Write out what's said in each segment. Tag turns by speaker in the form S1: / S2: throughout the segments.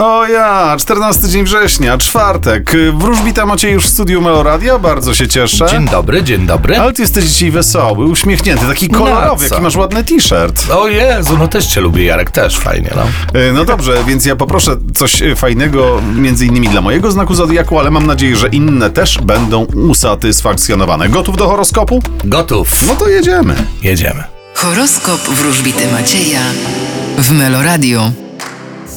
S1: O ja, 14 dzień września, czwartek. Wróżbita macie już w studiu Meloradia, bardzo się cieszę.
S2: Dzień dobry, dzień dobry.
S1: Ale ty jesteś dzisiaj wesoły, uśmiechnięty, taki
S2: Na
S1: kolorowy,
S2: No, co?
S1: jaki masz ładny t-shirt.
S2: O Jezu, no też cię lubię, Jarek, też fajnie, no.
S1: E, No dobrze, więc ja poproszę coś e, fajnego, między innymi dla mojego znaku zodiaku, ale mam nadzieję, że inne też będą usatysfakcjonowane. Gotów do horoskopu?
S2: Gotów,
S1: No to jedziemy.
S2: jedziemy.
S3: Horoskop wróżbity Macieja w Meloradio.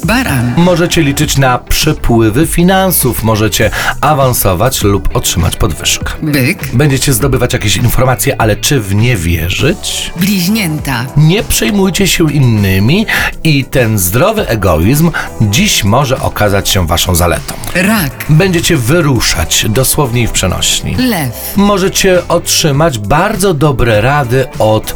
S3: Baran,
S2: Możecie liczyć na przepływy finansów, możecie awansować lub otrzymać podwyżkę.
S3: byk,
S2: Będziecie zdobywać jakieś informacje, ale czy w nie wierzyć?
S3: bliźnięta,
S2: Nie przejmujcie się innymi i ten zdrowy egoizm dziś może okazać się waszą zaletą.
S3: rak,
S2: Będziecie wyruszać, dosłownie i w przenośni.
S3: lew,
S2: Możecie otrzymać bardzo dobre rady od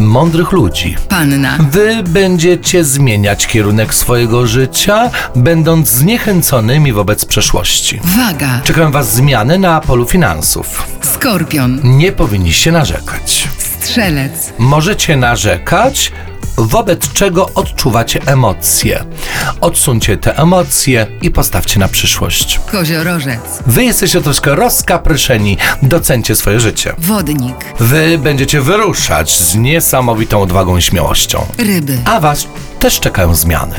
S2: mądrych ludzi.
S3: panna,
S2: Wy będziecie zmieniać kierunek swojego życia, będąc zniechęconymi wobec przeszłości.
S3: waga,
S2: Czekają Was zmiany na polu finansów.
S3: skorpion,
S2: Nie powinniście narzekać.
S3: strzelec,
S2: Możecie narzekać, wobec czego odczuwacie emocje. Odsuńcie te emocje i postawcie na przyszłość.
S3: koziorożec,
S2: Wy jesteście troszkę rozkapryszeni, docencie swoje życie.
S3: wodnik,
S2: Wy będziecie wyruszać z niesamowitą odwagą i śmiałością.
S3: ryby.
S2: A Was też czekają zmiany.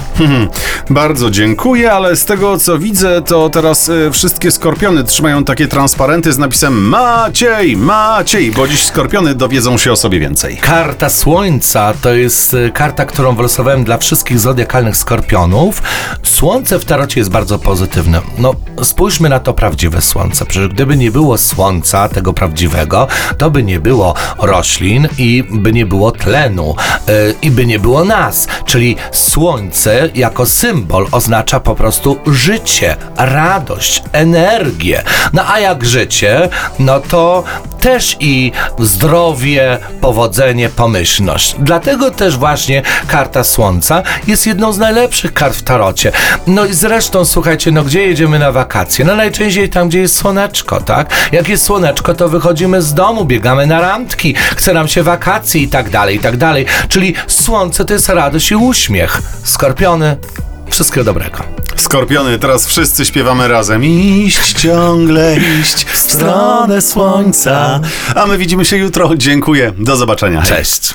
S1: Bardzo dziękuję, ale z tego co widzę, to teraz y, wszystkie skorpiony trzymają takie transparenty z napisem Maciej, Maciej, bo dziś skorpiony dowiedzą się o sobie więcej.
S2: Karta Słońca to jest y, karta, którą wylosowałem dla wszystkich zodiakalnych skorpionów. Słońce w tarocie jest bardzo pozytywne. No, spójrzmy na to prawdziwe słońce. Przecież gdyby nie było słońca, tego prawdziwego, to by nie było roślin i by nie było tlenu y, i by nie było nas. Czyli słońce jako symbol oznacza po prostu życie, radość, energię. No a jak życie, no to też i zdrowie, powodzenie, pomyślność. Dlatego też właśnie karta Słońca jest jedną z najlepszych kart w tarocie. No i zresztą, słuchajcie, no gdzie jedziemy na wakacje? No najczęściej tam, gdzie jest słoneczko, tak? Jak jest słoneczko, to wychodzimy z domu, biegamy na randki, chce nam się wakacje i tak dalej, i tak dalej. Czyli Słońce to jest radość i uśmiech. Skorpiony, wszystkiego dobrego.
S1: Skorpiony, teraz wszyscy śpiewamy razem. Iść, ciągle iść w stronę słońca. A my widzimy się jutro. Dziękuję. Do zobaczenia. Hej.
S2: Cześć.